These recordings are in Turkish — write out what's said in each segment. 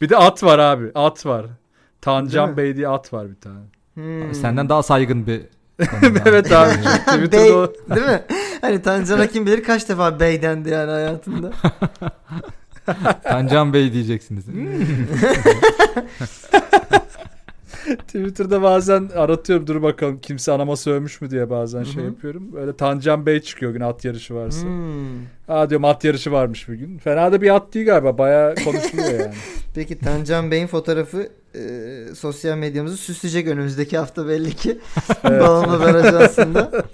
Bir de at var abi. At var. Değil Tancan mi? Bey diye at var bir tane. Hmm. Senden daha saygın bir konu ya. evet abi. Twitter'da Bey, o- değil mi? Hani Tancan'a kim bilir kaç defa bey dendi yani hayatında. Tancan Bey diyeceksiniz. Hmm. Twitter'da bazen aratıyorum dur bakalım kimse anama sövmüş mü diye bazen şey Hı hı. yapıyorum. Böyle Tancan Bey çıkıyor gün at yarışı varsa. Hmm. Aa diyorum at yarışı varmış bir gün. Fena da bir at değil galiba. Bayağı konuşuluyor yani. Peki Tancan Bey'in fotoğrafı e, sosyal medyamızı süsleyecek önümüzdeki hafta belli ki. Evet. Balonla Baraj aslında.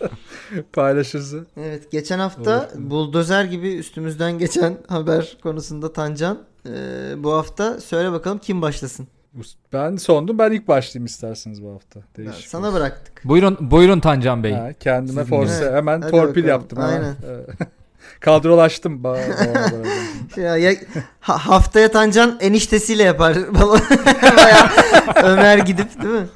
Paylaşırsa. Evet geçen hafta Olur. buldozer gibi üstümüzden geçen haber konusunda Tancan. e, bu hafta söyle bakalım kim başlasın? Ben sondum. Ben ilk başlayayım isterseniz bu hafta. Ben- Değişik. Sana bıraktık. Buyurun buyurun Tancan Bey. Ha, kendime Sizin force Evet. hemen Hadi torpil bakalım. yaptım. hemen. Aynen. Ee, Kadrolaştım. Ba- ba- ba- ba- Şey, Ya, ya- ha- haftaya Tancan eniştesiyle yapar. balon. Bayağı Ömer gidip değil mi?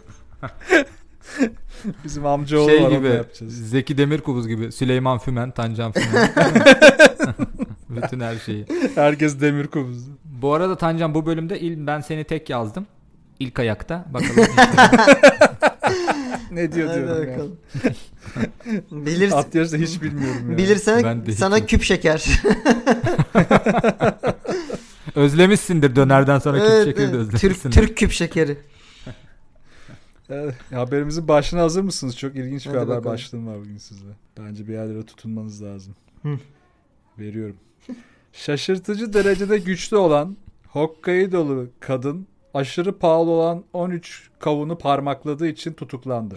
Bizim amcaoğlu şey var, onu gibi da yapacağız. Zeki Demirkubuz gibi Süleyman Fümen, Tancan Fümen. Bütün her şeyi. Herkes demir kubuz. Bu arada Tancan bu bölümde il, ben seni tek yazdım. İlk ayakta. Bakalım. Ne diyor Hadi diyorum. ya. bakalım. Bilirsin. At yarışı hiç bilmiyorum ya. Ben Bilirsen de sana hiç- küp şeker. Özlemişsindir dönerden sonra Evet, küp şekilde evet. özlemişsindir. Türk, Türk küp şekeri. Evet, haberimizin başına hazır mısınız? Çok ilginç bir Hadi haber bakalım. başlığım var bugün sizde. Bence bir yerlere tutunmanız lazım. Hı. Veriyorum. Şaşırtıcı derecede güçlü olan Hokkaido'lu kadın aşırı pahalı olan 13 kavunu parmakladığı için tutuklandı.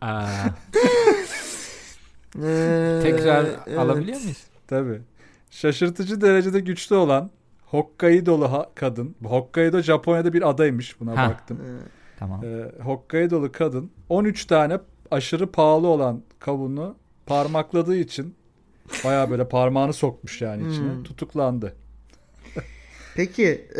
Aa, Ee, tekrar evet. alabiliyor muyuz? Tabii. Şaşırtıcı derecede güçlu olan Hokkaido'lu ha- kadın. Bu Hokkaido Japonya'da bir adaymış buna Ha. baktım. Ee, Tamam. Ee, Hokkaido'lu kadın 13 tane aşırı pahalı olan kavunu parmakladığı için baya böyle parmağını sokmuş yani içine. Hmm. Tutuklandı. Peki.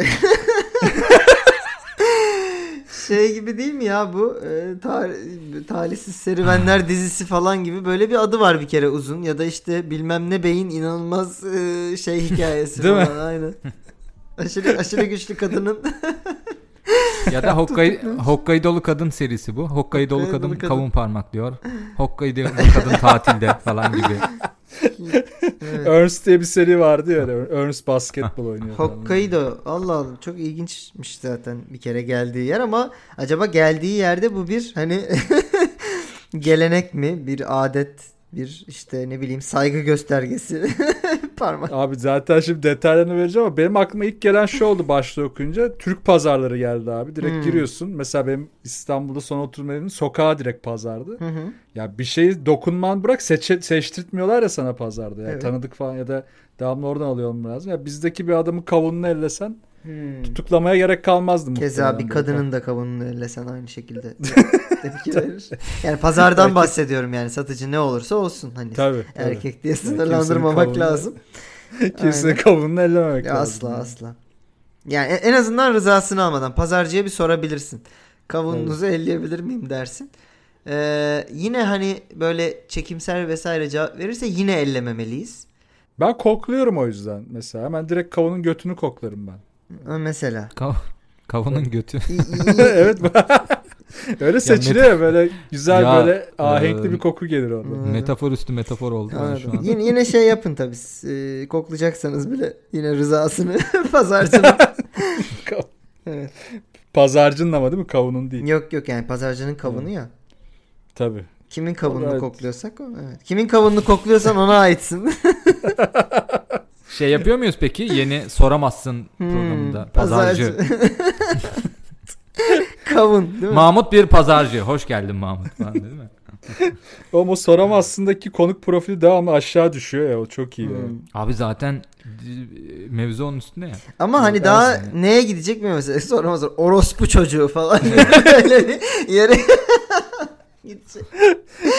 şey gibi değil mi ya bu Ee, tar- talihsiz serüvenler dizisi falan gibi böyle bir adı var bir kere uzun ya da işte bilmem ne beyin inanılmaz e, şey hikayesi Değil mi? falan aynen. Aşırı, aşırı güçlü kadının Ya da Hokkaido, Hokkaido'lu kadın serisi bu. Hokkaido'lu Hokkaido'lu kadın kadın. kavun parmaklıyor. Hokkaido'lu kadın tatilde falan gibi. Evet. Ernst diye bir seri vardı ya. öyle. Ernst basketbol oynuyor. falan. Hokkaido. Allah Allah çok ilginçmiş zaten bir kere geldiği yer ama acaba geldiği yerde bu bir hani gelenek mi? Bir adet, bir işte ne bileyim saygı göstergesi. Parmak. Abi zaten şimdi detaylarını vereceğim ama benim aklıma ilk gelen şu oldu başta okuyunca. Türk pazarları geldi abi. Direkt Hmm. giriyorsun. Mesela benim İstanbul'da son oturma evimin sokağa direkt pazardı. Hı hı. Ya bir şeyi dokunman bırak seçe, seçtirtmiyorlar ya sana pazarda. Ya Evet. Tanıdık falan ya da devamlı oradan alıyorum lazım. Ya bizdeki bir adamın kavununu ellesen Hmm. tutuklamaya gerek kalmazdı Keza bir muhtemelen böyle. kadının da kavununu ellesen aynı şekilde tepki verir. Yani pazardan bahsediyorum yani satıcı ne olursa olsun hani Tabii. tabii. erkek diye kimsenin sınırlandırmamak kavununu- lazım. Kimsenin kavununu ellememek Ya lazım. asla asla. Yani e- en azından rızasını almadan pazarcıya bir sorabilirsin. Kavununuzu elleyebilir miyim dersin. Ee, yine hani böyle çekimser vesaire cevap verirse yine ellememeliyiz. Ben kokluyorum o yüzden mesela. Hemen direkt kavunun götünü koklarım ben. Ö- Mesela. Kav- kavunun götü. İ- i- evet. Öyle seçiliyor ya böyle güzel Ya, böyle ahenkli e, bir koku gelir orada. Anladım. Metafor üstü metafor oldu yani şu Anladım. an. yine, yine şey yapın tabii. siz, e, koklayacaksanız bile yine rızasını pazarcının. Evet. Pazarcının ama değil mi? Kavunun değil. Yok yok yani pazarcının kavunu ya. Tabii. Kimin Evet. kavununu kokluyorsak o. Evet. Kimin kavununu kokluyorsan ona aitsin. Şey yapıyor muyuz peki? Yeni soramazsın Hmm. programında. Hmm. Pazarcı. Kavun değil mi? Mahmut bir pazarcı. Hoş geldin Mahmut falan değil mi? Oğlum o soramazsındaki konuk profili devamlı aşağı düşüyor ya. O çok iyi. Hmm. yani. Abi zaten e, mevzu onun üstünde ya. Ama hani Evet, daha evet. neye gidecek mi mesela? Sonra mesela orospu çocuğu falan. Öyle bir yere gidecek.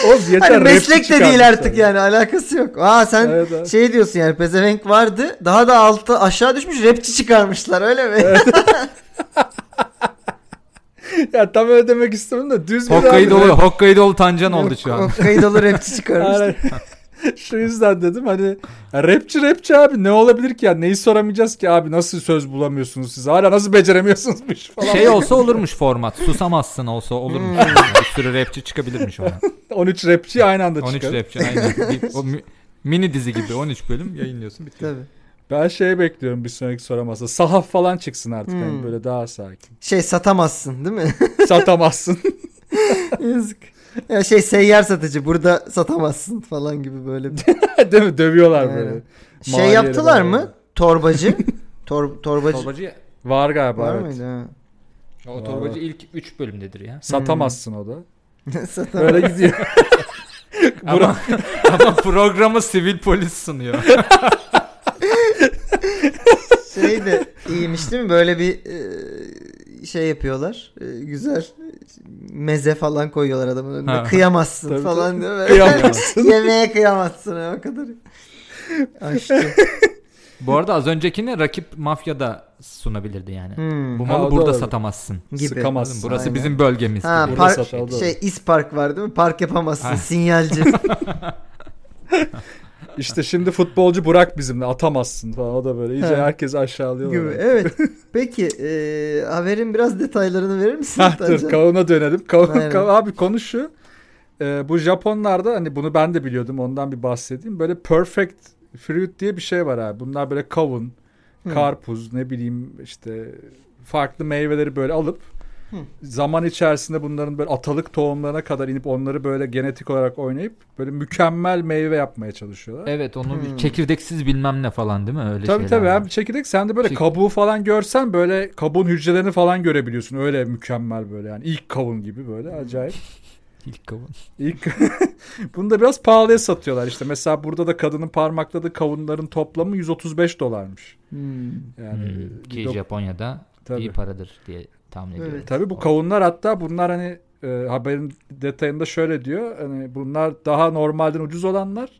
Oğlum yeter. rapçi Hani meslek de çıkarmışlar. değil artık yani alakası yok. Aa sen Evet, evet. şey diyorsun yani pezevenk vardı. Daha da altta aşağı düşmüş rapçi çıkarmışlar öyle mi? Ya tam öyle demek istemedim de düz bir abi. Hokkaido'lu, Hokkaido'lu Tancan oldu şu an. Kayıt olur rapçi çıkarmışlar. Aynen. Şu yüzden dedim hani ya rapçi rapçi abi ne olabilir ki ya neyi soramayacağız ki abi nasıl söz bulamıyorsunuz siz hala nasıl beceremiyorsunuz bu işi falan. Hmm. Şey olsa olurmuş format. Susamazsın olsa olurmuş. Yani bir sürü rapçi çıkabilirmiş ona. 13 rapçi aynı anda 13 çıkar. rapçi aynen. Bir- o mi- mini dizi gibi 13 bölüm yayınlıyorsun bitiyor. Tabii. Ben şey bekliyorum bir sonraki soramazsa. Sahaf falan çıksın artık hani Hmm. böyle daha sakin. Şey satamazsın değil mi? Satamazsın. Yazık. Ya şey seyyar satıcı burada satamazsın falan gibi böyle. bir- Değil mi? Dövüyorlar böyle. Aynen. Maliyeyle Şey yaptılar beraber. mı? Torbacı. Tor, torbacı. Torbacı Var galiba. Var evet. mıydı? Ha. o torbacı ilk 3 bölümdedir ya. Satamazsın o Hmm. da. Satamazsın. Böyle gidiyor. Ama, ama programı sivil polis sunuyor. Şey de iyiymiş değil mi? Böyle bir e, şey yapıyorlar. E, Güzel meze falan koyuyorlar adamın önüne. Ha. Kıyamazsın Tabii, falan değil mi? Kıyamazsın. Yemeğe kıyamazsın ya, o kadar. Açtı. Bu arada az öncekini rakip mafyada sunabilirdi yani. Hmm. Bu Ha, malı o da burada olabilir. satamazsın. Gibi. Sıkamazsın. Burası Aynen. bizim bölgemiz. Ha, gibi. Burası park, hatalı da şey İspark var değil mi? Park yapamazsın. Ha. Sinyalci. İşte şimdi futbolcu Burak bizimle atamazsın falan. O da böyle iyice He. herkesi aşağılıyorlar. gibi. Evet. Peki e, haberin biraz detaylarını verir misin? Hah, dur Tancan? kavuna dönelim. Kavun, Aynen. kav- abi konu şu. Ee, bu Japonlarda hani bunu ben de biliyordum ondan bir bahsedeyim. Böyle perfect fruit diye bir şey var abi. Bunlar böyle kavun, Hı. karpuz ne bileyim işte farklı meyveleri böyle alıp Hı. zaman içerisinde bunların böyle atalık tohumlarına kadar inip onları böyle genetik olarak oynayıp böyle mükemmel meyve yapmaya çalışıyorlar. Evet onu bir Hmm. çekirdeksiz bilmem ne falan değil mi öyle Tabii şeyler tabii var. abi çekirdek sen de böyle Çek- kabuğu falan görsen böyle kabuğun hücrelerini falan görebiliyorsun. Öyle mükemmel böyle yani ilk kavun gibi böyle Hmm. acayip. İlk kavun. İlk bunu da biraz pahalıya satıyorlar işte. Mesela burada da kadının parmakladığı kavunların toplamı 135 dolarmış. Hmm. Yani Hmm, bir Ki dok- Japonya'da tabii. iyi paradır diye tahmin Evet. ediyorum. Tabii bu O- kavunlar hatta bunlar hani e, haberin detayında şöyle diyor. Hani bunlar daha normalden ucuz olanlar.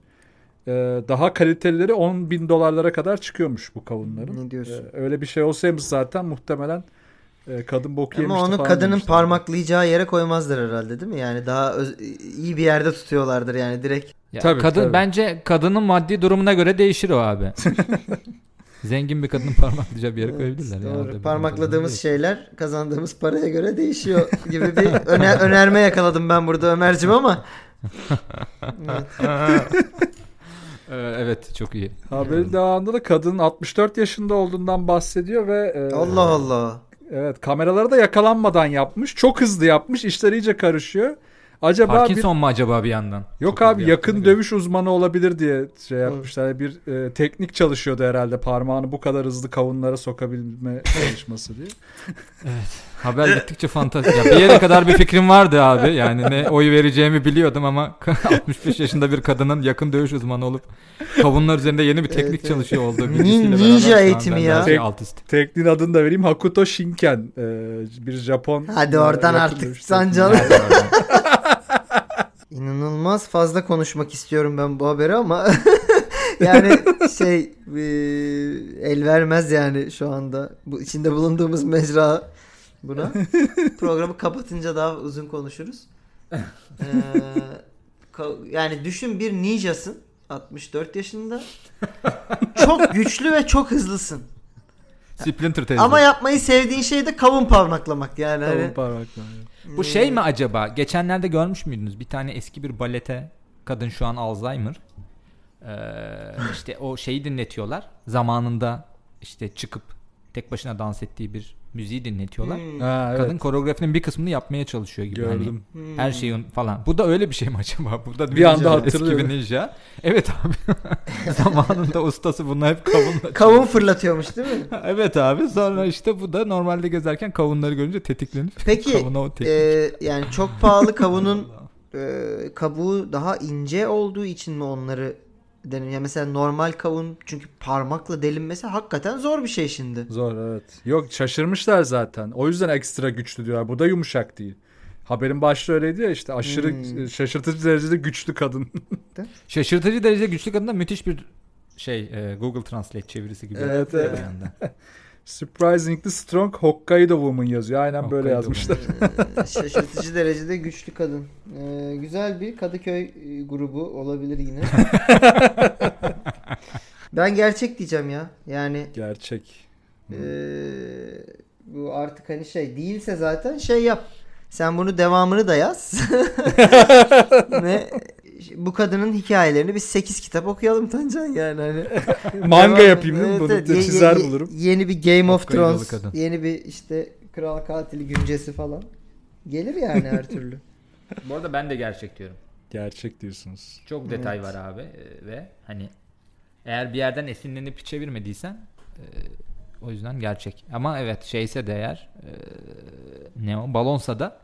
e, daha kalitelileri 10 bin dolarlara kadar çıkıyormuş bu kavunların. Ne diyorsun? E, öyle bir şey olsaymış zaten muhtemelen e, kadın bok yemişti Ama onu falan kadının demişler. parmaklayacağı yere koymazlar herhalde değil mi? Yani daha öz- iyi bir yerde tutuyorlardır yani direkt. Ya Tabii, kadın tabii. bence kadının maddi durumuna göre değişir o abi. Zengin bir kadın parmaklayacağı bir yere Evet, koyabilirler. ya. doğru. Orada bir Parmakladığımız kadın şeyler kazandığımız paraya göre değişiyor gibi bir öne- önerme yakaladım ben burada Ömer'cim ama. Evet. değil. Ee, evet çok iyi. Haberin devamında da kadının 64 yaşında olduğundan bahsediyor ve e, Allah Allah. Evet kameralara da yakalanmadan yapmış. Çok hızlı yapmış. İşler iyice karışıyor. Acaba bir Parkinson mu acaba bir yandan? yok Çok abi yakın hızlı yaptığına göre. dövüş uzmanı olabilir diye şey yapmışlar. Bir e, teknik çalışıyordu herhalde parmağını bu kadar hızlı kavunlara sokabilme çalışması diye. Haber gittikçe fantastik. Ya bir yere kadar bir fikrim vardı abi. Yani ne oy vereceğimi biliyordum ama 65 yaşında bir kadının yakın dövüş uzmanı olup kavunlar üzerinde yeni bir teknik Evet, evet. çalışıyor olduğu Nin- bilgisiyle beraber. ninja şu an eğitimi ben ya. her şey Tek- alt üst. Tekniğin adını da vereyim. Hakuto Shinken. E, bir Japon. Hadi e, oradan yakın artık dövüş Sancan. İnanılmaz fazla konuşmak istiyorum ben bu haberi ama yani şey e, el vermez yani şu anda bu içinde bulunduğumuz mecra buna. Programı kapatınca daha uzun konuşuruz. Ee, ka- yani düşün bir ninjasın 64 yaşında. Çok güçlü ve çok hızlısın. Splinter teyze. Ama yapmayı sevdiğin şey de kavun parmaklamak yani. tekniği. Hani- Kavun parmakla. Bu Hmm. şey mi acaba? Geçenlerde görmüş müydünüz? Bir tane eski bir balete kadın şu an Alzheimer. Ee, işte o şeyi dinletiyorlar. Zamanında işte çıkıp tek başına dans ettiği bir müziği dinletiyorlar. Hmm, Ha, evet. Kadın koreografinin bir kısmını yapmaya çalışıyor gibi. Hani gördüm. hmm. her şeyi un- falan. Bu da öyle bir şey mi acaba? Bu da Bir anda ninja, hatırlıyorum. Eski bir ninja. Evet abi. Zamanında ustası bunu hep kavunla. Kavun fırlatıyormuş değil mi? evet abi. Sonra işte bu da normalde gezerken kavunları görünce tetiklenip Peki kavuna o teknik. e, yani çok pahalı kavunun e, kabuğu daha ince olduğu için mi onları deniyor? Ya mesela normal kavun çünkü parmakla delinmesi hakikaten zor bir şey şimdi. Zor evet. Yok şaşırmışlar zaten. O yüzden ekstra güçlü diyorlar. Bu da yumuşak değil. Haberin başlığı öyleydi ya işte aşırı Hmm. e, şaşırtıcı derecede güçlü kadın. Şaşırtıcı derecede güçlü kadında müthiş bir şey e, Google Translate çevirisi gibi. Evet, Bir evet. yandan. Surprisingly strong Hokkaido woman yazıyor. Aynen böyle Hokkaido yazmışlar. Ee, Şaşırtıcı derecede güçlü kadın. Ee, güzel bir Kadıköy e, grubu olabilir yine. ben gerçek diyeceğim ya. Yani Gerçek. e, bu artık hani şey değilse zaten şey yap. Sen bunu devamını da yaz. Ve bu kadının hikayelerini biz 8 kitap okuyalım Tancan yani hani. Manga Devam- yapayım değil mi? Evet, Bunu evet. Ye- ye- çizer ye- bulurum. Yeni bir Game of Hokkaido'lu Thrones, kadın. yeni bir işte kral katili güncesi falan. Gelir yani her türlü. Bu arada ben de gerçek diyorum. Gerçek diyorsunuz. Çok detay var abi e, ve hani eğer bir yerden esinlenip çevirmediysen e, o yüzden gerçek. Ama evet şeyse de eğer e, ne o balonsa da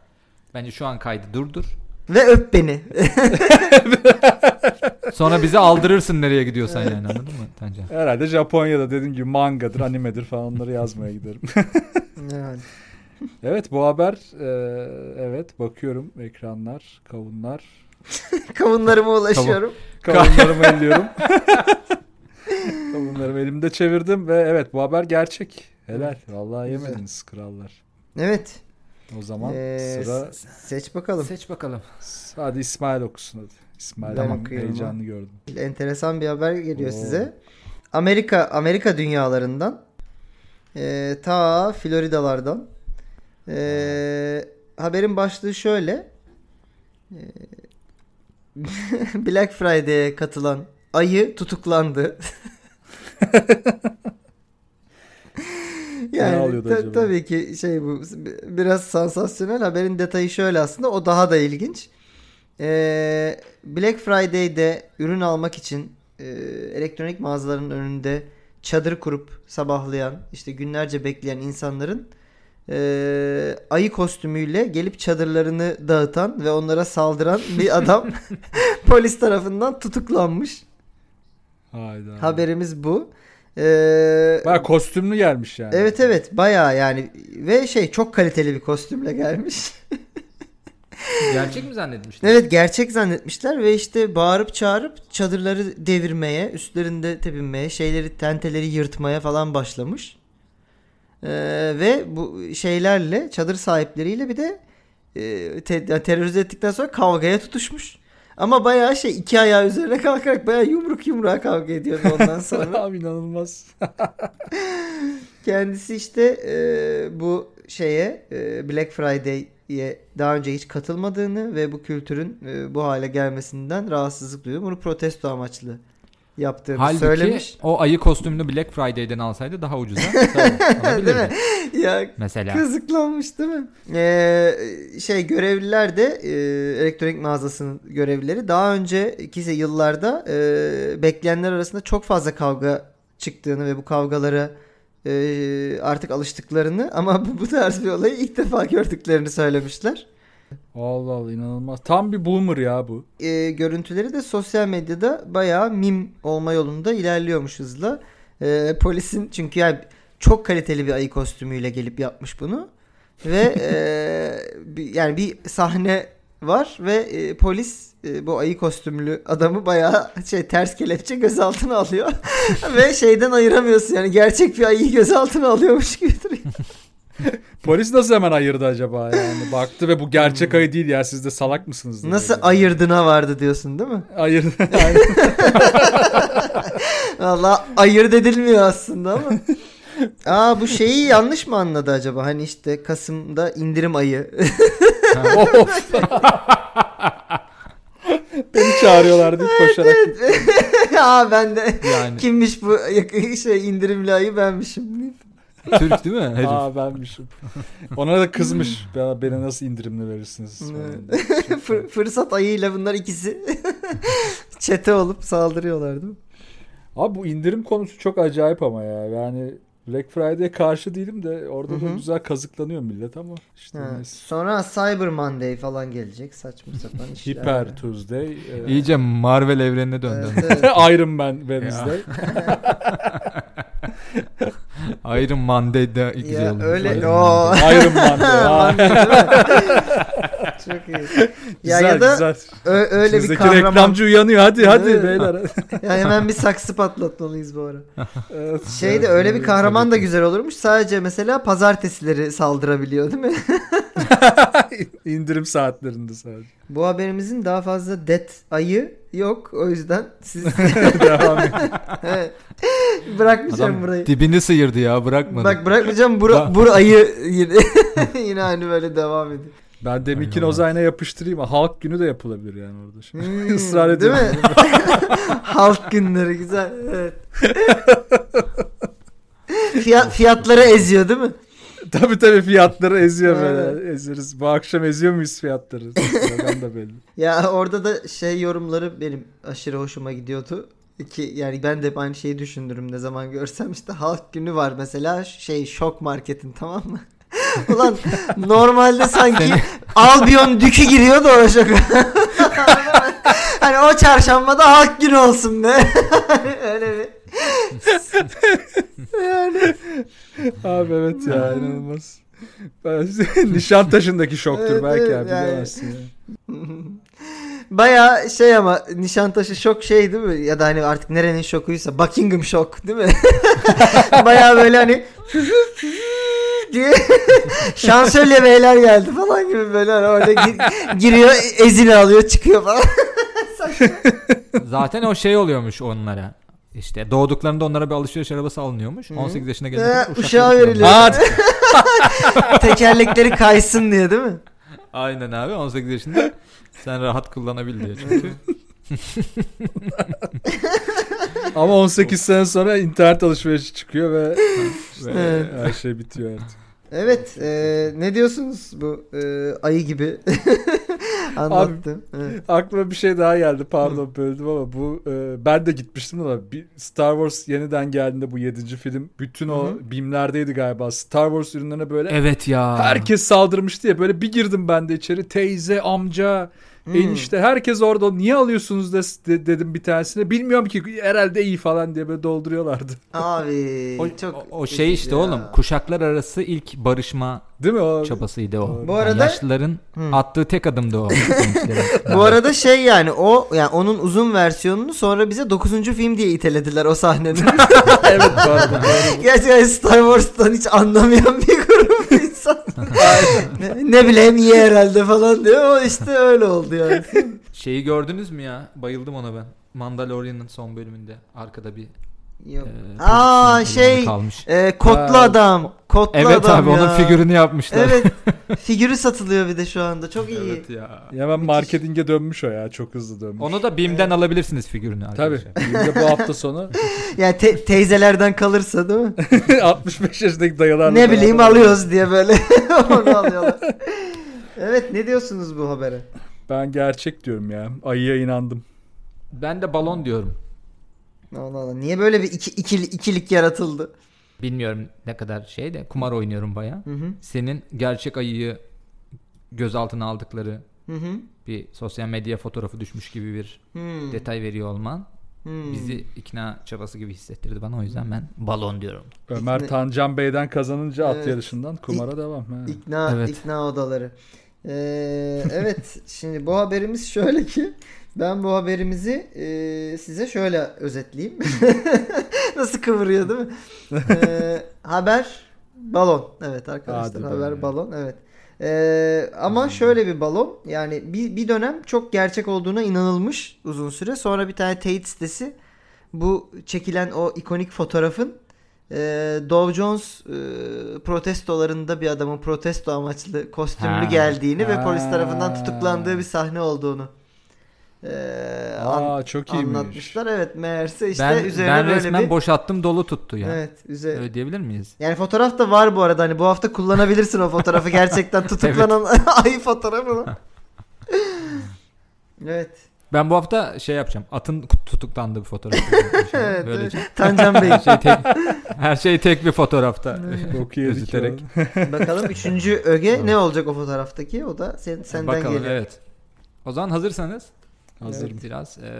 bence şu an kaydı durdur. Ve öp beni. Sonra bizi aldırırsın nereye gidiyorsan yani anladın mı Tancan? Herhalde Japonya'da dediğim gibi mangadır, animedir falan onları yazmaya giderim. yani. evet bu haber e, evet bakıyorum ekranlar, kavunlar. Kavunlarıma ulaşıyorum. Kavunlarımı elliyorum. Kavunlarımı elimde çevirdim ve evet bu haber gerçek. Helal. Vallahi Güzel. yemediniz krallar. Evet. O zaman Ee, sıra s- seç bakalım. Seç bakalım. hadi İsmail okusun hadi. İsmail Ben tamam, okuyorum. heyecanını gördüm. Enteresan bir haber geliyor Oo. size. Amerika Amerika dünyalarından e, ta Floridalardan e, haberin başlığı şöyle E, Black Friday'e katılan ayı tutuklandı. yani alıyordu ta- acaba? tabii ki şey bu biraz sansasyonel haberin detayı şöyle aslında o daha da ilginç. Ee, Black Friday'de ürün almak için e, elektronik mağazaların önünde çadır kurup sabahlayan işte günlerce bekleyen insanların e, ayı kostümüyle gelip çadırlarını dağıtan ve onlara saldıran bir adam polis tarafından tutuklanmış. Hayda. Haberimiz bu. Ee, Baya kostümlü gelmiş yani. Evet evet bayağı yani ve şey çok kaliteli bir kostümle gelmiş. Gerçek mi zannetmiştin? Evet gerçek zannetmişler ve işte bağırıp çağırıp çadırları devirmeye, üstlerinde tepinmeye, şeyleri tenteleri yırtmaya falan başlamış. Ee, ve bu şeylerle çadır sahipleriyle bir de e, te- terörize ettikten sonra kavgaya tutuşmuş. Ama bayağı şey iki ayağı üzerine kalkarak bayağı yumruk yumruğa kavga ediyordu ondan sonra. Abi inanılmaz. Kendisi işte e, bu şeye e, Black Friday'ye daha önce hiç katılmadığını ve bu kültürün e, bu hale gelmesinden rahatsızlık duyuyor. Bunu protesto amaçlı yaptığını Halbuki söylemiş. o ayı kostümünü Black Friday'den alsaydı daha ucuza tabii, alabilirdi. Değil mi? ya Mesela. kızıklanmış değil mi? Ee, şey görevliler de e, elektronik mağazasının görevlileri daha önceki se- yıllarda e, bekleyenler arasında çok fazla kavga çıktığını ve bu kavgalara e, artık alıştıklarını ama bu, bu tarz bir olayı ilk defa gördüklerini söylemişler. Allah Allah inanılmaz. Tam bir boomer ya bu. e, görüntüleri de sosyal medyada bayağı mim olma yolunda ilerliyormuş hızla. E, polisin çünkü yani çok kaliteli bir ayı kostümüyle gelip yapmış bunu. Ve e, bir- yani bir sahne var ve e, polis e, bu ayı kostümlü adamı bayağı şey ters kelepçe gözaltına alıyor. ve şeyden ayıramıyorsun yani gerçek bir ayıyı gözaltına alıyormuş gibi duruyor. Polis nasıl hemen ayırdı acaba yani? Baktı ve bu gerçek ayı değil ya siz de salak mısınız? dedi. Hmm. Nasıl ayırdına vardı diyorsun değil mi? Ayırdı. Valla ayırt edilmiyor aslında ama. Aa bu şeyi yanlış mı anladı acaba? Hani işte Kasım'da indirim ayı. Of. Beni çağırıyorlar deyip koşarak. Aa ben de Yani kimmiş bu şey indirimli ayı benmişim. Türk değil mi? herif? Aa benmişim. Ona da kızmış. "Ya Beni nasıl indirimli verirsiniz? falan diye. Fır- fırsat ayıyla bunlar ikisi çete olup saldırıyorlar değil mi? Abi bu indirim konusu çok acayip ama ya. Yani Black Friday'e karşı değilim de orada Hı da hı. güzel kazıklanıyor millet ama işte Ha, neyse. Sonra Cyber Monday falan gelecek saçma sapan işler. Hiper Tuesday. e, İyice Marvel evrenine döndü. Evet, e, evet. Iron Man Wednesday. Iron Monday'da güzel ya olmuş. öyle Iron o Iron Man. Monday, değil mi? Çok iyi. Güzel ya da güzel. Ö- öyle bir Bizdeki kahraman. reklamcı uyanıyor hadi hadi Evet. beyler. Ya hemen bir saksı patlatmalıyız bu ara. Evet. Şey de Evet, öyle bir evet, kahraman da tabii ki. güzel olurmuş. Sadece mesela pazartesileri saldırabiliyor değil mi? İndirim saatlerinde sadece. Bu haberimizin daha fazla det ayı yok. O yüzden siz Devam et. bırakmayacağım burayı. dibini sıyırdı ya bırakmadı. Bak bırakmayacağım bura, Daha- bur ayı yine, yine hani böyle devam ediyor. Ben de Mikin Allah. Ozay'ına yapıştırayım. Halk günü de yapılabilir yani orada. Şimdi. Hmm, Israr Değil ediyorum. mi? Halk günleri güzel. Evet. Fiyat, fiyatları eziyor değil mi? Tabii tabii fiyatları eziyor Evet. böyle. Ezeriz. Bu akşam eziyor muyuz fiyatları? ben de belli. Ya orada da şey yorumları benim aşırı hoşuma gidiyordu. Ki yani ben de hep aynı şeyi düşünürüm ne zaman görsem işte halk günü var mesela şey şok marketin tamam mı? Ulan normalde sanki Albion Dükü giriyor da oraya şok. hani o çarşambada halk günü olsun be. Hani Öyle bir. Abi evet ya inanılmaz. Ben- Nişantaşı'ndaki şoktur Evet, belki evet, abi yani. bilemezsin. ya. Baya şey ama Nişantaşı şok şey değil mi? Ya da hani artık nerenin şokuysa Buckingham şok değil mi? Baya böyle hani diye şansölye beyler geldi falan gibi böyle hani orada gi- giriyor ezil alıyor çıkıyor falan. Zaten o şey oluyormuş onlara. İşte doğduklarında onlara bir alışveriş arabası alınıyormuş. Hı. 18 yaşına Ha, gelince uşağa veriliyor. Aa, Tekerlekleri kaysın diye değil mi? Aynen abi 18 yaşında sen rahat kullanabil diye. Çünkü ama 18 sene sonra internet alışverişi çıkıyor ve ve Evet. her şey bitiyor artık. Evet e, ne diyorsunuz bu e, ayı gibi anlattım. Evet. Aklıma bir şey daha geldi. Pardon böldüm ama bu e, ben de gitmiştim ama bir Star Wars yeniden geldiğinde bu 7. film bütün o bimlerdeydi galiba. Star Wars ürünlerine böyle Evet ya. herkes saldırmıştı ya. Böyle bir girdim ben de içeri. Teyze, amca, Hmm. enişte herkes orada. Niye alıyorsunuz des- de, dedim bir tanesine. Bilmiyorum ki herhalde iyi falan diye böyle dolduruyorlardı. Abi o, çok o- o şey üzücü işte ya. oğlum kuşaklar arası ilk barışma Değil mi? O, çabasıydı o. Bu arada- yaşlıların Hı. attığı tek adımdı o. gençlerin. Bu arada şey yani o yani onun uzun versiyonunu sonra bize 9. film diye itelediler o sahnenin. evet pardon. doğru. Gerçekten Star Wars'tan hiç anlamayan bir grup insan. ne, ne bileyim iyi herhalde falan diyor. O işte öyle oldu yani. Şeyi gördünüz mü ya? Bayıldım ona ben. Mandalorian'ın son bölümünde arkada bir Yok. e, Aa pozisyonun şey elemanı kalmış. e, kotlu Ha. adam. Kotlu Evet adam abi ya. onun figürünü yapmışlar. Evet. Figürü satılıyor bir de şu anda. Çok iyi. Evet ya. Hemen marketinge dönmüş o ya. Çok hızlı dönmüş. Onu da BİM'den alabilirsiniz figürünü Tabii. arkadaşlar. Benim de bu hafta sonu Yani te- teyzelerden kalırsa değil mi? 65 yaşındaki dayılarla ne bileyim beraber- alıyoruz diye böyle onu alıyorlar. Evet ne diyorsunuz bu habere? Ben gerçek diyorum ya. Ayıya inandım. Ben de balon diyorum. Allah Allah. Niye böyle bir iki, ikili- ikilik yaratıldı? Bilmiyorum ne kadar şey de kumar oynuyorum baya. Hı hı. Senin gerçek ayıyı gözaltına aldıkları Hı hı. bir sosyal medya fotoğrafı düşmüş gibi bir Hmm. detay veriyor olman Hmm. bizi ikna çabası gibi hissettirdi bana o yüzden ben balon diyorum. Ömer İkna- Tancan Bey'den kazanınca at Evet. yarışından kumara devam. ha. İkna, Evet. ikna odaları. Ee, evet şimdi bu haberimiz şöyle ki ben bu haberimizi e, size şöyle özetleyeyim. Nasıl kıvırıyor değil mi? Ee, haber balon. Evet arkadaşlar Hadi be. haber balon. Evet. Ee, ama şöyle bir balon yani bir, bir dönem çok gerçek olduğuna inanılmış uzun süre sonra bir tane teyit sitesi bu çekilen o ikonik fotoğrafın e, Dow Jones e, protestolarında bir adamın protesto amaçlı kostümlü Ha. geldiğini ve Ha. polis tarafından tutuklandığı bir sahne olduğunu e, an- Aa çok iyiymiş. anlatmışlar. Evet meğerse işte ben üzerine ben böyle resmen bir boşattım dolu tuttu ya. evet üzerine Öyle diyebilir miyiz? yani fotoğraf da var bu arada. Hani bu hafta kullanabilirsin o fotoğrafı gerçekten tutuklanan ayı fotoğrafını. evet. Ben bu hafta şey yapacağım. Atın kut- tutuklandığı bir fotoğraf. yapacağım. Evet. Böylece evet. Tancan Bey. her şey tek, her şey tek bir fotoğrafta. Çok iyi şey Gözüterek. Bakalım üçüncü öge ne olacak o fotoğraftaki? O da sen, senden Bakalım geliyor. evet. O zaman hazırsanız Hazırım. Biraz eee,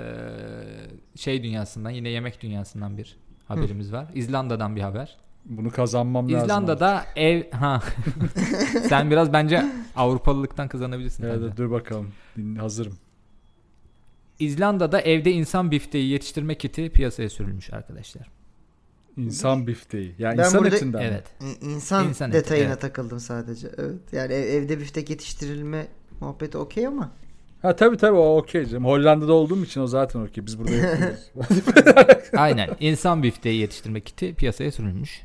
şey dünyasından yine yemek dünyasından bir haberimiz var. İzlanda'dan bir haber. Bunu kazanmam lazım. İzlanda'da ev ha. Sen biraz bence Avrupalılıktan kazanabilirsin. Evet, bence. dur bakalım. Din- Hazırım. İzlanda'da evde insan bifteği yetiştirme kiti piyasaya sürülmüş arkadaşlar. İnsan bifteği. Yani Ben insan burada- etinden. mi? Evet. İ- İnsan, İnsan eti, detayına evet. takıldım sadece. Evet. Yani ev- evde biftek yetiştirilme muhabbeti okey ama. Ha tabii tabii o okey canım. Hollanda'da olduğum için o zaten okey. Biz burada yapıyoruz. Aynen. İnsan bifteği yetiştirme kiti piyasaya sürülmüş.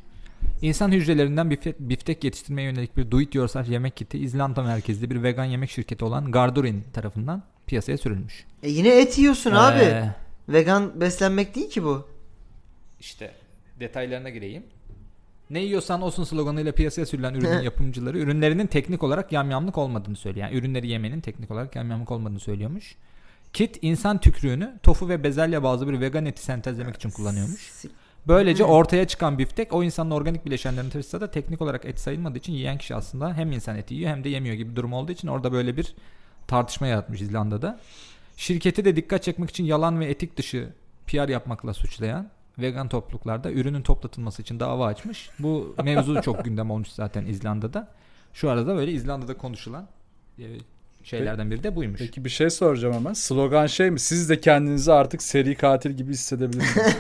İnsan hücrelerinden biftek, biftek yetiştirmeye yönelik bir do it yourself yemek kiti İzlanda merkezli bir vegan yemek şirketi olan Gardurin tarafından piyasaya sürülmüş. E yine et yiyorsun abi. Ee, Vegan beslenmek değil ki bu. İşte detaylarına gireyim. Ne yiyorsan olsun sloganıyla piyasaya sürülen ürünün Evet. yapımcıları ürünlerinin teknik olarak yamyamlık olmadığını söylüyor. Yani ürünleri yemenin teknik olarak yamyamlık olmadığını söylüyormuş. Kit insan tükrüğünü tofu ve bezelye bazı bir vegan eti sentezlemek için kullanıyormuş. Sik- Böylece ortaya çıkan biftek o insanın organik bileşenlerini taşısa da teknik olarak et sayılmadığı için yiyen kişi aslında hem insan eti yiyor hem de yemiyor gibi durum olduğu için orada böyle bir tartışma yaratmış İzlanda'da. Şirketi de dikkat çekmek için yalan ve etik dışı PR yapmakla suçlayan vegan topluluklarda ürünün toplatılması için dava açmış. Bu mevzu çok gündem olmuş zaten İzlanda'da. Şu arada böyle İzlanda'da konuşulan e, şeylerden biri de buymuş. Peki bir şey soracağım hemen. Slogan şey mi? Siz de kendinizi artık seri katil gibi hissedebilirsiniz.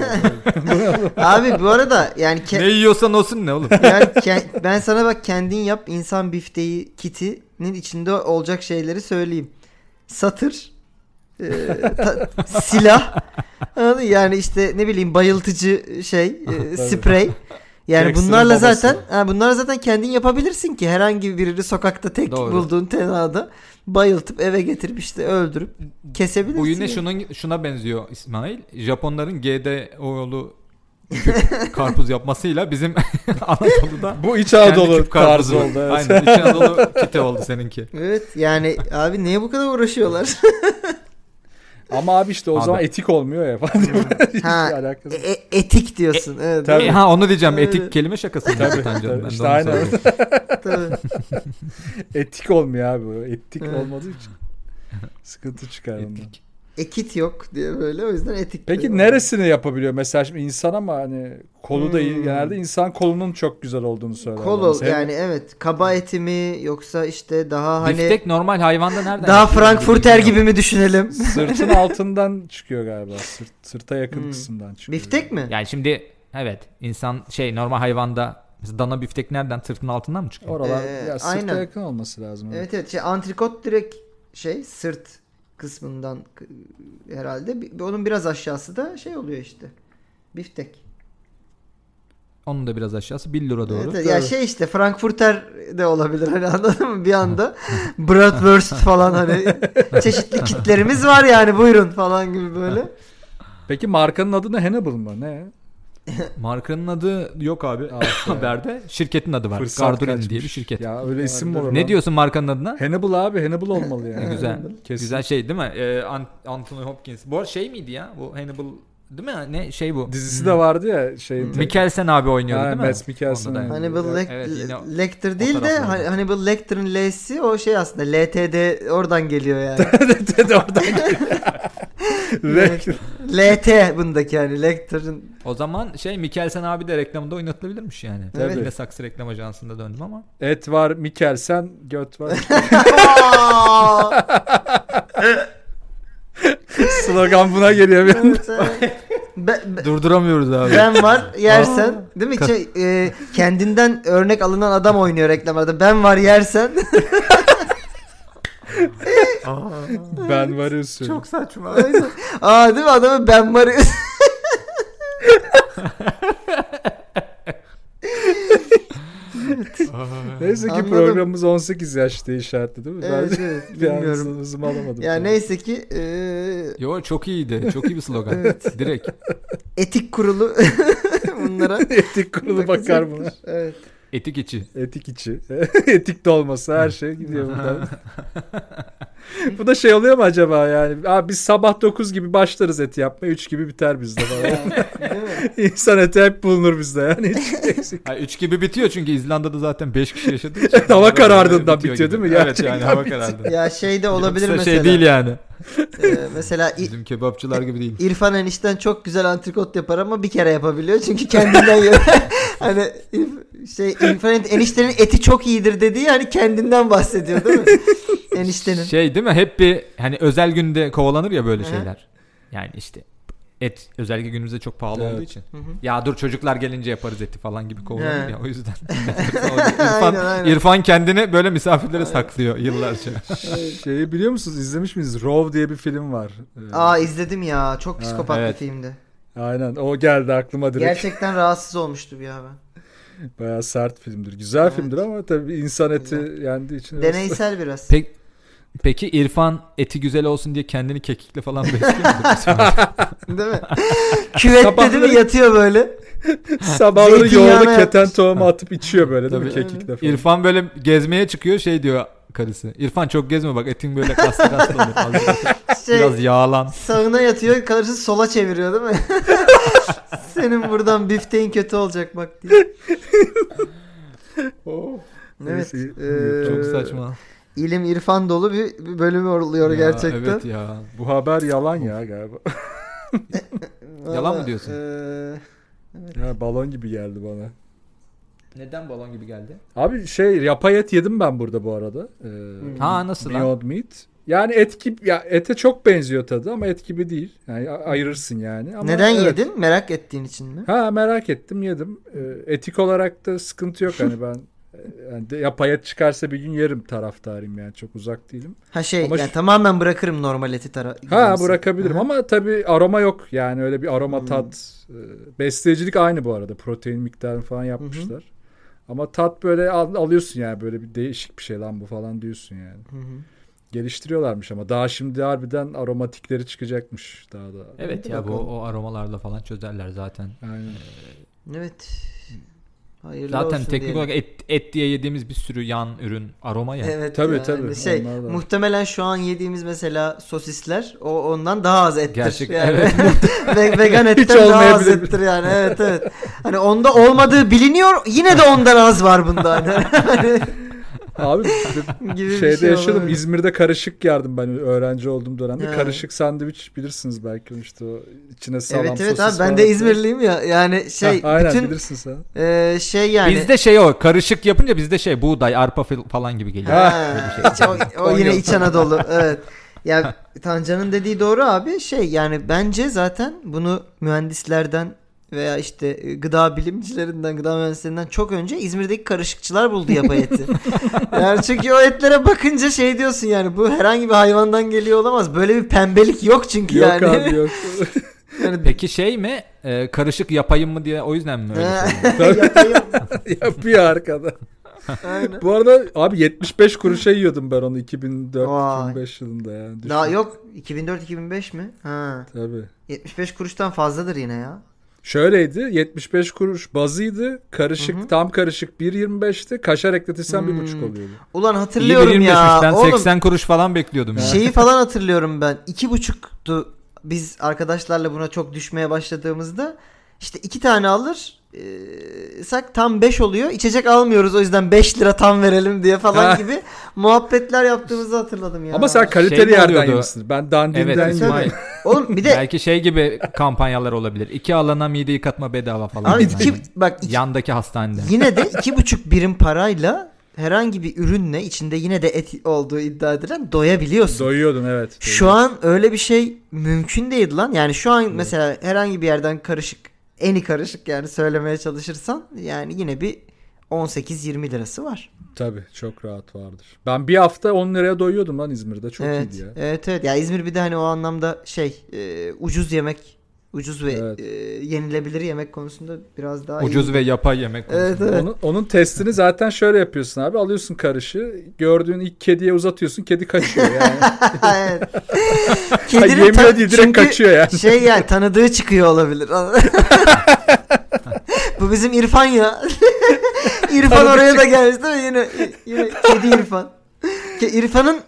Abi bu arada yani ke- Ne yiyorsan olsun ne oğlum. yani ke- ben sana bak kendin yap insan bifteği kitinin içinde olacak şeyleri söyleyeyim. Satır, e, ta- silah, anladın mı? yani işte ne bileyim bayıltıcı şey, e, sprey. Yani Jackson'ın bunlarla babası. zaten ha, bunlar zaten kendin yapabilirsin ki herhangi birini sokakta tek Doğru. bulduğun tenada bayıltıp eve getirip işte öldürüp kesebilirsin. Bu yine yani. şunun, şuna benziyor İsmail. Japonların GDO'lu küp karpuz yapmasıyla bizim Anadolu'da Bu İç kendi Anadolu küp karpuzu. tarzı oldu. Evet. Aynen İç Anadolu kite oldu seninki. Evet yani abi niye bu kadar uğraşıyorlar? Ama abi işte o Abi. zaman etik olmuyor ya falan. Hiç Ha, alakası. E- e- etik diyorsun. evet. Tabii. E, ha onu diyeceğim etik Evet. kelime şakası. mı? Tabii, Tamam canım, tabii. ben de İşte onu aynen. soruyorum. tabii. Etik olmuyor abi. o. Etik e- Evet. olmadığı için. Sıkıntı çıkar ondan. Etik. Ekit yok diye böyle o yüzden etik. Peki diyor. neresini yapabiliyor? Mesela şimdi insan ama hani kolu da iyi. Hmm. Genelde insan kolunun çok güzel olduğunu söyler. Kol Hem- yani evet kaba eti mi yoksa işte daha hani Biftek normal hayvanda nereden? daha yapıyor? frankfurter Bilmiyorum. gibi mi düşünelim? Sırtın altından çıkıyor galiba. Sırt, sırta yakın Hmm. kısımdan çıkıyor. Biftek mi? Yani şimdi evet insan şey normal hayvanda mesela dana biftek nereden sırtın altından mı çıkıyor? Oralar Ee, ya, sırta aynen. yakın olması lazım. Evet evet şey antrikot direkt şey sırt kısmından k- herhalde Bi- onun biraz aşağısı da şey oluyor işte. Biftek. Onun da biraz aşağısı 1 lira doğru. Evet, evet. ya doğru. şey işte frankfurter de olabilir hani anladın mı bir anda bratwurst falan hani çeşitli kitlerimiz var yani buyurun falan gibi böyle. Peki markanın adı ne? Hannibal mı? Ne? Markanın adı yok abi Ah be. haberde. Şirketin adı var. Fırsat Gardurin diye kaçmış. bir şirket. Ya öyle isim mi olur? lan? Ne diyorsun markanın adına? Hannibal abi Hannibal olmalı yani. Güzel. Kesin. Güzel şey değil mi? Ee, An- Anthony Hopkins. Bu arada şey miydi ya? Bu Hannibal değil mi? Ne şey bu? Hmm. Dizisi Hmm. de vardı ya şey. Mikkelsen abi oynuyordu Ha, değil mi? Mads Mikkelsen Onda da. oynuyordu. Hannibal Evet, Lec- evet, yine o- Lecter değil de taraflarda. Hani- Hannibal Lecter'ın L'si o şey aslında LTD oradan geliyor yani. Dedi oradan. Evet. LT bundaki yani Lecter'ın O zaman şey Mikkelsen abi de reklamında oynatılabilirmiş yani. Tabii. Yine Saksı reklam ajansında döndüm ama. Et var Mikkelsen, göt var. Aa! Slogan buna geliyor bir anda. Evet, evet. ben, ben- Durduramıyoruz abi. ben var yersen değil mi? Şey, e, kendinden örnek alınan adam oynuyor reklamlarda. Ben var yersen. Ben varım sürü. saçma. Aa değil mi adamı ben var. Neyse ki Anladım. programımız 18 yaş diye işaretli değil mi? evet, ben evet, bir an bilmiyorum. hızımı alamadım. Ya neyse ki e, Yo çok iyiydi. Çok iyi bir slogan. Direkt. etik kurulu bunlara Etik kurulu bakar buna. bakacaktır. Evet. Etik içi. Etik içi. Etik de olmasa her şey gidiyor buradan. Bu da şey oluyor mu acaba yani? Abi biz sabah 9 gibi başlarız et yapmaya. 3 gibi biter bizde falan. Değil mi? İnsan eti hep bulunur bizde yani. Hiç eksik. Ha, üç gibi bitiyor çünkü İzlanda'da zaten 5 kişi yaşadığı için. Hava karardığından bitiyor gibi. değil mi? Evet yani Gerçekten hava bitiyor. karardığında. Ya şey de olabilir Yoksa mesela. Şey değil yani. Ee, mesela İ- Bizim kebapçılar gibi değil. İrfan enişten çok güzel antrikot yapar ama bir kere yapabiliyor çünkü kendinden yiyor. hani İrf- şey İrfan en- eniştenin eti çok iyidir dediği yani kendinden bahsediyor değil mi? eniştenin. Şey değil mi? Hep bir hani özel günde kovalanır ya böyle Hı hı. şeyler. Yani işte et özellikle günümüzde çok pahalı Evet. olduğu için. Hı hı. Ya dur çocuklar gelince yaparız eti falan gibi kovalanır He. ya o yüzden. İrfan, Aynen, aynen. İrfan kendini böyle misafirlere saklıyor yıllarca. Şeyi biliyor musunuz? İzlemiş miyiz? Rov diye bir film var. Ee, Aa izledim ya. Çok psikopat evet. bir filmdi. Aynen. O geldi aklıma direkt. Gerçekten rahatsız olmuştum ya ben. Bayağı sert filmdir. Güzel Evet. filmdir ama tabii insan eti Güzel. yendiği için. Deneysel biraz. Peki, peki İrfan eti güzel olsun diye kendini kekikle falan besliyor mu? Değil mi? Küvette değil mi Sabahları- yatıyor böyle? Sabahları Zeytinyağına yoğurdu keten yapmış. tohumu atıp içiyor böyle değil mi? Tabii. Kekikle falan. İrfan böyle gezmeye çıkıyor şey diyor karısı. İrfan çok gezme bak etin böyle kaslı kaslı oluyor. Azıcık- Şey, Biraz yağlan. Sağına yatıyor karısı sola çeviriyor değil mi? Senin buradan bifteğin kötü olacak bak diye. Oh. Evet. e, Neyse, iyi. eee, Çok saçma. İlim irfan dolu bir, bir bölüm oluyor Ya, gerçekten. Evet ya. Bu haber yalan ya galiba. Vallahi, e, Yalan mı diyorsun? eee, ya balon gibi geldi bana. Neden balon gibi geldi? Abi şey yapay et yedim ben burada bu arada. Ee, Hmm. Ha nasıl lan? Beyond Meat. Yani et gibi ya ete çok benziyor tadı ama et gibi değil. Yani a- ayırırsın yani. Ama neden evet. yedin? Merak ettiğin için mi? Ha merak ettim yedim. Ee, etik olarak da sıkıntı yok hani ben e, yani de yapay et çıkarsa bir gün yerim taraftarıyım yani çok uzak değilim. Ha şey Ama yani şu- tamamen bırakırım normal eti tara. Ha yemesi. bırakabilirim Hı hı. ama tabii aroma yok yani öyle bir aroma Hmm. tat. e, Besleyicilik aynı bu arada protein miktarını falan yapmışlar. Ama tat böyle al- alıyorsun yani böyle bir değişik bir şey lan bu falan diyorsun yani. Hı hı. Geliştiriyorlarmış ama daha şimdi harbiden aromatikleri çıkacakmış daha da. Evet Hadi ya bu bakalım. o aromalarla falan çözerler zaten. Aynen. Evet. Hayırlı Zaten olsun teknik diyelim. olarak et, et diye yediğimiz bir sürü yan ürün aroma ya. Evet. Tabii, yani tabii. Şey, Onlar da var. muhtemelen şu an yediğimiz mesela sosisler o ondan daha az ettir. Gerçek- Yani. evet. Ve- vegan Hiç etten daha az olmayabilir. ettir yani. Evet evet. Hani onda olmadığı biliniyor. Yine de ondan az var bunda. Hani. Abi Gibi bir şeyde şey yaşadım. olabilir. İzmir'de karışık yardım ben öğrenci olduğum dönemde. Ha. Karışık sandviç bilirsiniz belki işte o içine salam evet evet sosis abi falan ben de atıyor. İzmirliyim ya. Yani şey Ha, aynen bütün bilirsin sen. e, şey yani. Bizde şey o karışık yapınca bizde şey buğday arpa fil- falan gibi geliyor. Ha, Böyle iç- o, o Konya. yine İç Anadolu. Evet. Ya Tancan'ın dediği doğru abi. Şey yani bence zaten bunu mühendislerden veya işte e, gıda bilimcilerinden, gıda mühendislerinden çok önce İzmir'deki karışıkçılar buldu yapay eti. yani çünkü o etlere bakınca şey diyorsun yani bu herhangi bir hayvandan geliyor olamaz. Böyle bir pembelik yok çünkü Yok yani. abi yok. Yani- Peki şey mi? Ee, karışık yapayım mı diye o yüzden mi öyle? Ha, Tabii. yapay et, Yapıyor arkada. aynen. Bu arada abi 75 kuruşa yiyordum ben onu 2004-2005 yılında yani. Düşün. Daha yok 2004-2005 mi? Ha. Tabii. 75 kuruştan fazladır yine ya. Şöyleydi 75 kuruş bazıydı. Karışık Hı hı. tam karışık 1.25'ti. Kaşar ekletirsen Hmm. 1.5 oluyordu. Ulan İyi hatırlıyorum bir ya. 25'ten Oğlum Şey 80 kuruş falan bekliyordum. yani. Şeyi falan hatırlıyorum ben. İki buçuktu biz arkadaşlarla buna çok düşmeye başladığımızda. işte iki tane alır e, sak tam 5 oluyor. İçecek almıyoruz o yüzden 5 lira tam verelim diye Ha. falan gibi muhabbetler yaptığımızı hatırladım ya. Ama sen Şey kaliteli mi yerden oluyordu? yemişsin. Ben dandinden Evet yemiştim. İsmail. Oğlum bir de Belki şey gibi kampanyalar olabilir. İki alana mide yıkatma bedava falan. abi Yani iki, bak iki- Yandaki hastanede. yine de iki buçuk birim parayla herhangi bir ürünle içinde yine de et olduğu iddia edilen doyabiliyorsun. Doyuyordun evet. Şu an öyle bir şey mümkün değil lan. Yani şu an mesela herhangi bir yerden karışık, eni karışık yani söylemeye çalışırsan yani yine bir 18-20 lirası var. Tabii çok rahat vardır. Ben bir hafta 10 liraya doyuyordum lan İzmir'de. Çok evet. iyiydi ya. Evet evet. Ya İzmir bir de hani o anlamda şey e, ucuz yemek, ucuz ve Evet. e, yenilebilir yemek konusunda biraz daha Ucuz iyi. ve yapay yemek. Evet evet. Onun, onun testini zaten şöyle yapıyorsun abi. Alıyorsun karışı. Gördüğün ilk kediye uzatıyorsun. Kedi kaçıyor yani. Evet. Ay, Kedinin yemin ta- ediyorum direkt çünkü kaçıyor yani. Şey yani tanıdığı çıkıyor olabilir. Bu bizim İrfan ya. İrfan Tanıdık oraya da gelmiş değil mi? Yine, yine kedi İrfan. Ke- İrfan'ın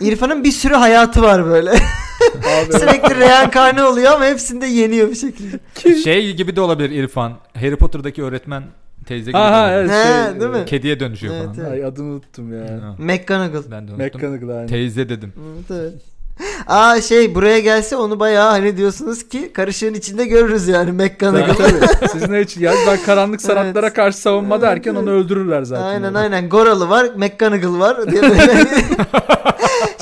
İrfan'ın bir sürü hayatı var böyle. Abi, Sürekli reenkarne oluyor ama hepsinde yeniyor bir şekilde. Şey gibi de olabilir İrfan. Harry Potter'daki öğretmen teyze gibi. de Aha, olabilir. evet, He, şey, değil mi? evet. Kediye dönüşüyor Evet, falan. evet. Ay adını unuttum ya. Ha, McGonagall. Ben de unuttum. Mechanical aynı. Teyze dedim. Evet, evet. Aa şey buraya gelse onu bayağı hani diyorsunuz ki karışığın içinde görürüz yani Tabii, McGonagall. tabii. Siz ne için? Ya ben karanlık sanatlara Evet. karşı savunma derken onu öldürürler zaten. Aynen Yani. aynen. Goralı var, McGonagall var diye böyle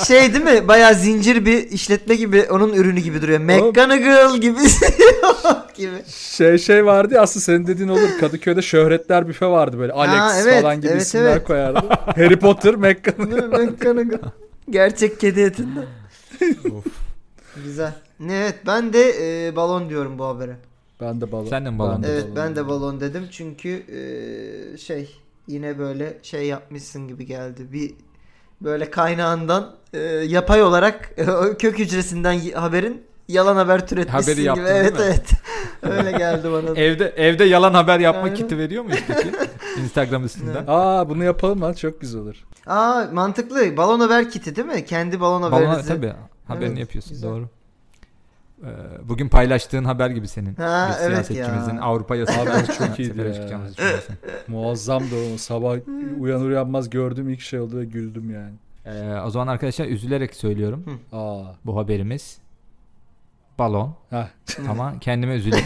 şey değil mi? Bayağı zincir bir işletme gibi onun ürünü gibi duruyor. McGonagall gibi gibi. Şey şey vardı ya aslında senin dediğin olur. Kadıköy'de şöhretler büfe vardı böyle. Alex evet, falan gibi evet, isimler evet. koyardı. Harry Potter, McGonagall. McGonagall. Gerçek kedi etinden. Güzel. Evet ben de e, balon diyorum bu habere. Ben de balon. Sen de mi balon Ben Evet balon. ben de balon dedim çünkü e, şey yine böyle şey yapmışsın gibi geldi. Bir böyle kaynağından e, yapay olarak e, o kök hücresinden y- haberin yalan haber türetmişsin Haberi yaptın, gibi. değil Evet mi? E- evet. Öyle geldi bana. da. Evde evde yalan haber yapma Aynen. kiti veriyor muyuz peki? Instagram üstünden. Aa bunu yapalım lan çok güzel olur. Aa mantıklı. Balon haber kiti değil mi? Kendi balon Balona haberinizi. tabii haberini Evet, yapıyorsun güzel. doğru. Ee, bugün paylaştığın haber gibi senin. Ha, bir evet siyasetçimizin ya. Avrupa yasası Abi çok iyiydi ya. Muazzam da o. Sabah Hmm. uyanır uyanmaz gördüm ilk şey oldu ve güldüm yani. Ee, o zaman arkadaşlar üzülerek söylüyorum Aa. bu haberimiz. Balon Heh. ama kendime üzüldüm.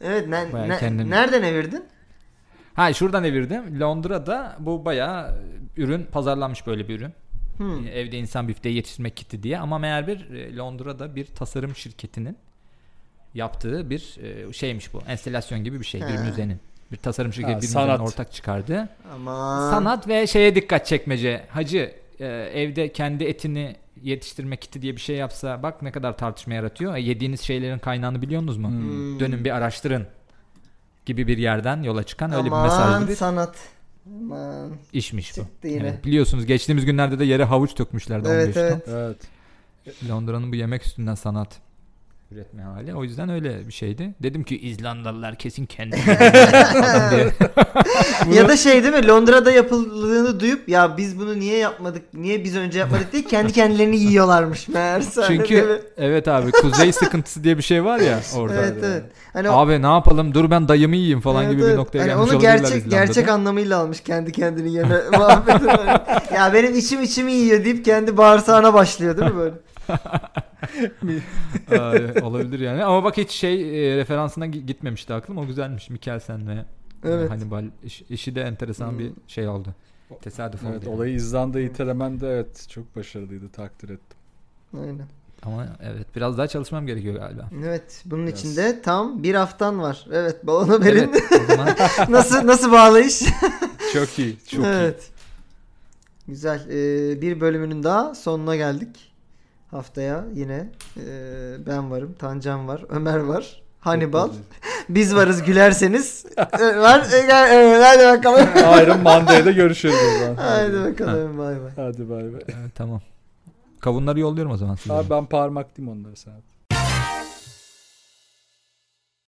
Evet ne, Bayağı ne- kendini- nereden evirdin? ha şuradan evirdim. Londra'da bu bayağı e, ürün pazarlanmış böyle bir ürün. Hmm. E, Evde insan bifteği yetiştirmek kiti diye ama meğer bir e, Londra'da bir tasarım şirketinin yaptığı bir e, şeymiş bu. Enstelasyon gibi bir şey, bir He. müzenin. Bir tasarım şirketi Ha, bir sanat. müzenin ortak çıkardığı. Aman. Sanat ve şeye dikkat çekmece. Hacı e, evde kendi etini yetiştirme kiti diye bir şey yapsa bak ne kadar tartışma yaratıyor. E, yediğiniz şeylerin kaynağını biliyorsunuz mu? Hmm. Dönün bir araştırın gibi bir yerden yola çıkan öyle bir Aman mesajlı bir sanat. Aman. işmiş bu. Çıktı yine. Evet, biliyorsunuz geçtiğimiz günlerde de yere havuç dökmüşlerdi Evet, 15 ton. evet. Evet. Londra'nın bu yemek üstünden sanat üretme hali. O yüzden öyle bir şeydi. Dedim ki İzlandalılar kesin kendi Ya da şey değil mi? Londra'da yapıldığını duyup ya biz bunu niye yapmadık? Niye biz önce yapmadık diye kendi kendilerini yiyorlarmış meğerse. Hani değil mi? Çünkü evet abi kuzey sıkıntısı diye bir şey var ya orada. evet evet. Hani o- Abi ne yapalım dur ben dayımı yiyeyim falan evet, gibi evet. bir noktaya Hani gelmiş onu olabilirler gerçek İzlanda'da. gerçek anlamıyla almış kendi kendini yeme muhabbeti. Hani, ya benim içim içimi yiyor deyip kendi bağırsağına başlıyor değil mi böyle? Ay, olabilir yani ama bak hiç şey e, referansına gi- gitmemişti aklım o güzelmiş Mikkelsen ve Evet. Hmm. Hannibal iş- işi de enteresan bir şey oldu. Tesadüf oldu. Evet, yani. olayı İzlanda'ya itelemen de evet çok başarılıydı takdir ettim. Aynen. Ama evet biraz daha çalışmam gerekiyor galiba. Evet. Bunun Biraz. içinde tam bir haftan var. Evet. Balon haberin Evet, o zaman nasıl nasıl bağlayış? Çok iyi. Çok iyi. evet. Güzel. Ee, bir bölümünün daha sonuna geldik. Haftaya yine ee, ben varım, Tancan var, Ömer var, Hannibal. Biz varız gülerseniz. Ee, var. Ee, gel- ee, Hadi bakalım. Iron Monday'da görüşürüz o zaman. Hadi bakalım. Bay bay. Hadi bay bay. Evet, tamam. Kavunları yolluyorum o zaman size. Abi ben parmak diyeyim onları sana.